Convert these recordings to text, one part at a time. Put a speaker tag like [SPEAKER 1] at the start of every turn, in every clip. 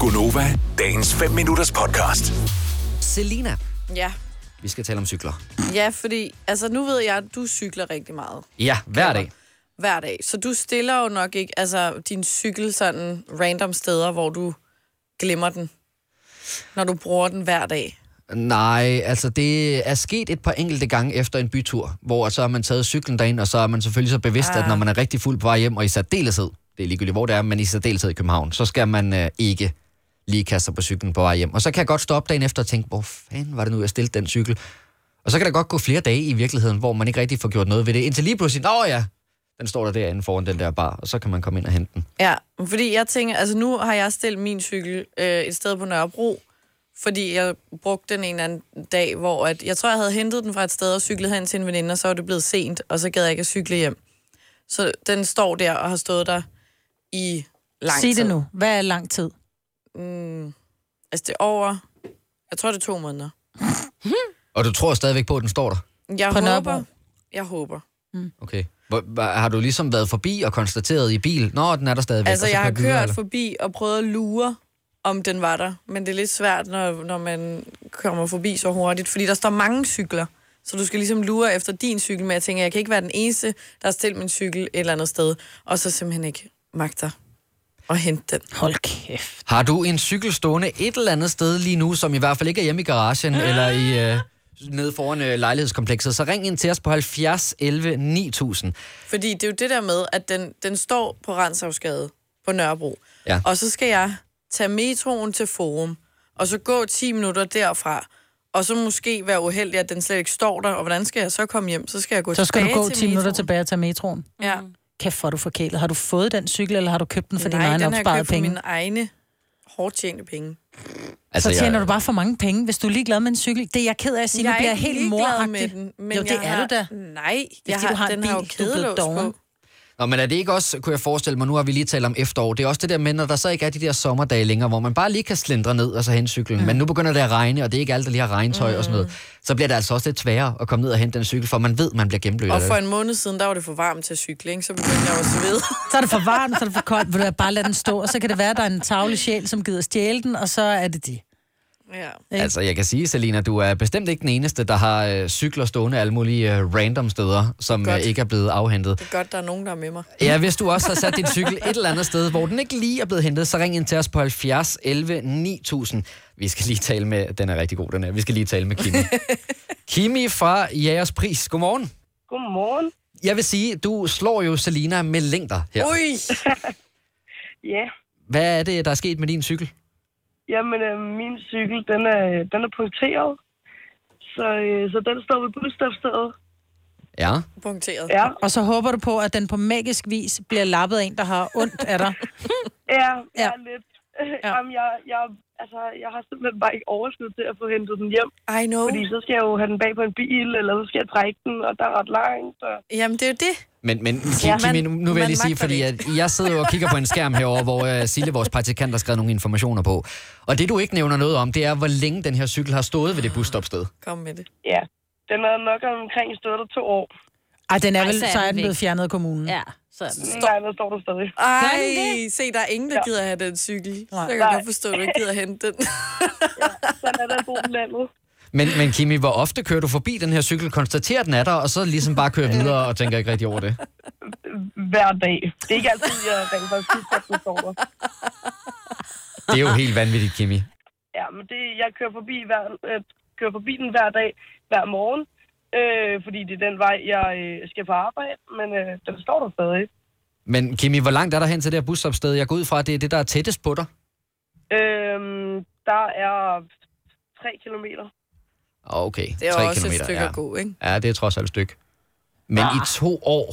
[SPEAKER 1] Gunova, dagens 5 minutters podcast.
[SPEAKER 2] Selina,
[SPEAKER 3] Ja.
[SPEAKER 2] vi skal tale om cykler.
[SPEAKER 3] ja, fordi altså, nu ved jeg, at du cykler rigtig meget
[SPEAKER 2] Ja, hver dag.
[SPEAKER 3] hver dag. Så du stiller jo nok ikke altså, din cykel sådan random steder, hvor du glemmer den, når du bruger den hver dag.
[SPEAKER 2] Nej, altså det er sket et par enkelte gange efter en bytur, hvor så har man taget cyklen derind, og så er man selvfølgelig så bevidst, ah. at når man er rigtig fuld på vej hjem, og i særdeleshed, det er ligegyldigt hvor det er, men i særdeleshed i København, så skal man øh, ikke lige kaste sig på cyklen på vej hjem. Og så kan jeg godt stoppe dagen efter og tænke, hvor fanden var det nu, jeg stillede den cykel? Og så kan der godt gå flere dage i virkeligheden, hvor man ikke rigtig får gjort noget ved det, indtil lige pludselig, nå ja, den står der derinde foran den der bar, og så kan man komme ind og hente den.
[SPEAKER 3] Ja, fordi jeg tænker, altså nu har jeg stillet min cykel øh, et sted på Nørrebro, fordi jeg brugte den en eller anden dag, hvor at, jeg tror, jeg havde hentet den fra et sted og cyklet hen til en veninde, og så var det blevet sent, og så gad jeg ikke at cykle hjem. Så den står der og har stået der i lang
[SPEAKER 4] Sig
[SPEAKER 3] tid.
[SPEAKER 4] det nu. Hvad er lang tid?
[SPEAKER 3] Altså, det er over... Jeg tror, det er to måneder.
[SPEAKER 2] Og du tror stadigvæk på, at den står der?
[SPEAKER 3] Jeg
[SPEAKER 4] På
[SPEAKER 3] håber...
[SPEAKER 4] Nørrebro?
[SPEAKER 3] Jeg håber.
[SPEAKER 2] Okay. Hvor, hva- har du ligesom været forbi og konstateret i bil? Nå, den er der stadigvæk.
[SPEAKER 3] Altså,
[SPEAKER 2] og så
[SPEAKER 3] jeg har
[SPEAKER 2] kører videre,
[SPEAKER 3] kørt
[SPEAKER 2] eller?
[SPEAKER 3] forbi og prøvet at lure, om den var der. Men det er lidt svært, når, når man kommer forbi så hurtigt, fordi der står mange cykler. Så du skal ligesom lure efter din cykel, men jeg tænker, jeg kan ikke være den eneste, der har stillet min cykel et eller andet sted, og så simpelthen ikke magter at hente den.
[SPEAKER 4] Hold kæft.
[SPEAKER 2] Har du en cykel stående et eller andet sted lige nu, som i hvert fald ikke er hjemme i garagen eller i... Øh, nede foran øh, lejlighedskomplekset, så ring ind til os på 70 11 9000.
[SPEAKER 3] Fordi det er jo det der med, at den, den står på Renshavsgade på Nørrebro.
[SPEAKER 2] Ja.
[SPEAKER 3] Og så skal jeg tage metroen til Forum, og så gå 10 minutter derfra, og så måske være uheldig, at den slet ikke står der, og hvordan skal jeg så komme hjem? Så skal jeg gå
[SPEAKER 4] Så skal du
[SPEAKER 3] tilbage
[SPEAKER 4] gå
[SPEAKER 3] til
[SPEAKER 4] 10 minutter
[SPEAKER 3] metroen.
[SPEAKER 4] tilbage og tage metroen.
[SPEAKER 3] Ja.
[SPEAKER 4] Kæft, hvor er du forkælet. Har du fået den cykel, eller har du købt den for dine
[SPEAKER 3] Nej,
[SPEAKER 4] egne
[SPEAKER 3] den har jeg
[SPEAKER 4] opsparede
[SPEAKER 3] købt for
[SPEAKER 4] penge?
[SPEAKER 3] mine egne hårdt tjente penge.
[SPEAKER 4] Så tjener
[SPEAKER 2] Altså, jeg,
[SPEAKER 4] du bare for mange penge, hvis du er ligeglad med en cykel. Det er jeg ked af at sige, nu
[SPEAKER 3] er
[SPEAKER 4] bliver jeg
[SPEAKER 3] ikke
[SPEAKER 4] helt
[SPEAKER 3] ligeglad med
[SPEAKER 4] moragtig.
[SPEAKER 3] den,
[SPEAKER 4] jo, det
[SPEAKER 3] jeg
[SPEAKER 4] er
[SPEAKER 3] har,
[SPEAKER 4] du da.
[SPEAKER 3] Nej,
[SPEAKER 4] er,
[SPEAKER 3] jeg
[SPEAKER 4] fordi
[SPEAKER 3] har,
[SPEAKER 4] du har en
[SPEAKER 3] den har jo
[SPEAKER 4] bil, du er blevet
[SPEAKER 3] kædelås
[SPEAKER 4] doven.
[SPEAKER 3] på.
[SPEAKER 2] Nå, men er det ikke også, kunne jeg forestille mig, nu har vi lige talt om efterår, det er også det der med, når der så ikke er de der sommerdage længere, hvor man bare lige kan slendre ned og så hente cyklen, mm. men nu begynder det at regne, og det er ikke alt, der lige har regntøj mm. og sådan noget, så bliver det altså også lidt sværere at komme ned og hente den cykel, for man ved, man bliver gennemblødt.
[SPEAKER 3] Og
[SPEAKER 2] af det.
[SPEAKER 3] for en måned siden, der var det for varmt til at cykle, ikke? så begyndte jeg jo at svede.
[SPEAKER 4] Så er det for varmt, så er det for koldt. Vil du bare lade den stå, og så kan det være, at der er en tavle sjæl, som gider stjæle den, og så er det de.
[SPEAKER 3] ja.
[SPEAKER 4] Ikke?
[SPEAKER 2] Altså, jeg kan sige, Selina, du er bestemt ikke den eneste, der har øh, cykler stående alle mulige øh, random steder, som øh,
[SPEAKER 3] Godt.
[SPEAKER 2] ikke er blevet afhentet.
[SPEAKER 3] Det er godt, der er nogen, der er med mig.
[SPEAKER 2] Ja, hvis du også har sat din cykel et eller andet sted, hvor den ikke lige er blevet hentet, så ring ind til os på 70 11 9000. Vi skal lige tale med, den er rigtig god, den her. Vi skal lige tale med Kimi. Kimi fra Jægers Pris. Godmorgen.
[SPEAKER 5] Godmorgen.
[SPEAKER 2] Jeg vil sige, du slår jo Selina med længder her.
[SPEAKER 3] Ui!
[SPEAKER 5] Ja,
[SPEAKER 2] Hvad er det, der er sket med din cykel?
[SPEAKER 5] jamen øh, min cykel, den er, den er punkteret. Så, øh, så den står ved busstofstedet.
[SPEAKER 2] Ja.
[SPEAKER 3] Punkteret.
[SPEAKER 5] Ja,
[SPEAKER 4] Og så håber du på, at den på magisk vis bliver lappet af en, der har ondt af dig.
[SPEAKER 5] ja,
[SPEAKER 4] Ja.
[SPEAKER 5] ja. lidt. Ja. Jamen, jeg, jeg, altså, jeg har simpelthen bare ikke overskud til at få hentet den hjem.
[SPEAKER 3] I know.
[SPEAKER 5] Fordi så skal jeg jo have den bag på en bil, eller så skal jeg trække den, og der er ret langt. Og...
[SPEAKER 3] Jamen, det er jo det.
[SPEAKER 2] Men, men
[SPEAKER 3] Ja,
[SPEAKER 2] Kimi,
[SPEAKER 3] man-
[SPEAKER 2] nu, nu vil jeg
[SPEAKER 3] man
[SPEAKER 2] lige sige,
[SPEAKER 3] magter
[SPEAKER 2] fordi
[SPEAKER 3] det
[SPEAKER 2] at jeg sidder jo og kigger på en skærm herover, hvor uh, Sille, vores praktikant, har skrevet nogle informationer på. Og det, du ikke nævner noget om, det er, hvor længe den her cykel har stået ved det busstopsted.
[SPEAKER 3] Kom med det.
[SPEAKER 5] Ja, den er nok omkring stået der to år.
[SPEAKER 4] Ej, den er
[SPEAKER 6] Ej,
[SPEAKER 4] vel,
[SPEAKER 6] så er
[SPEAKER 4] så er
[SPEAKER 6] den
[SPEAKER 4] den
[SPEAKER 6] væk.
[SPEAKER 4] blevet fjernet af kommunen.
[SPEAKER 6] Ja, så er den.
[SPEAKER 5] Nej, der står der stadig.
[SPEAKER 6] Gør den
[SPEAKER 3] Ej,
[SPEAKER 6] det?
[SPEAKER 3] se, der er ingen, der gider have den cykel. Så
[SPEAKER 4] Nej.
[SPEAKER 3] jeg kan
[SPEAKER 5] Nej.
[SPEAKER 3] godt forstå, at du ikke gider hente den.
[SPEAKER 5] Sådan er der at bo på landet.
[SPEAKER 2] Men, men Kimi, hvor ofte kører du forbi den her cykel, konstaterer den er der, og så ligesom bare kører videre og tænker ikke rigtig over det?
[SPEAKER 5] Hver dag. Det er ikke altid, jeg rent faktisk synes, at den står der.
[SPEAKER 2] Det er jo helt vanvittigt, Kimi.
[SPEAKER 5] Ja, men det, jeg kører forbi, hver, øh, kører forbi den hver dag, hver morgen, øh, fordi det er den vej, jeg øh, skal på arbejde, men øh, den står der stadig.
[SPEAKER 2] Men Kimi, hvor langt er der hen til det her busstopsted? Jeg går ud fra, at det er det, der er tættest på dig.
[SPEAKER 5] Øh, der er tre kilometer.
[SPEAKER 2] Åh, Ah, Okay,
[SPEAKER 3] Det er
[SPEAKER 2] tre
[SPEAKER 3] også
[SPEAKER 2] kilometer,
[SPEAKER 3] et stykke Ah.
[SPEAKER 2] ja.
[SPEAKER 3] ja. god, ikke?
[SPEAKER 2] Ja, det er trods alt et stykke. Men i to år.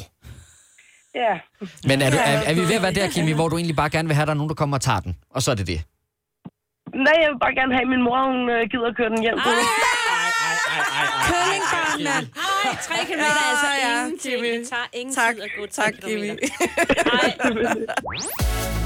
[SPEAKER 5] Ja,
[SPEAKER 2] Men er, du, er, er vi ved at være der, Kimi, hvor du egentlig bare gerne vil have, at der er nogen, der kommer og tager den? Og så er det det.
[SPEAKER 5] nej, jeg vil bare gerne have, at min mor hun, øh, gider at køre den hjem. Ah!
[SPEAKER 6] Køllingbarn, mand. Ej, tre kilometer er altså
[SPEAKER 3] Nå, ja,
[SPEAKER 6] ingenting.
[SPEAKER 3] Kimi.
[SPEAKER 6] Det tager ingen
[SPEAKER 3] Tak,
[SPEAKER 6] tid at gå tre
[SPEAKER 3] tak, Kimi.
[SPEAKER 6] kilometer. Ej,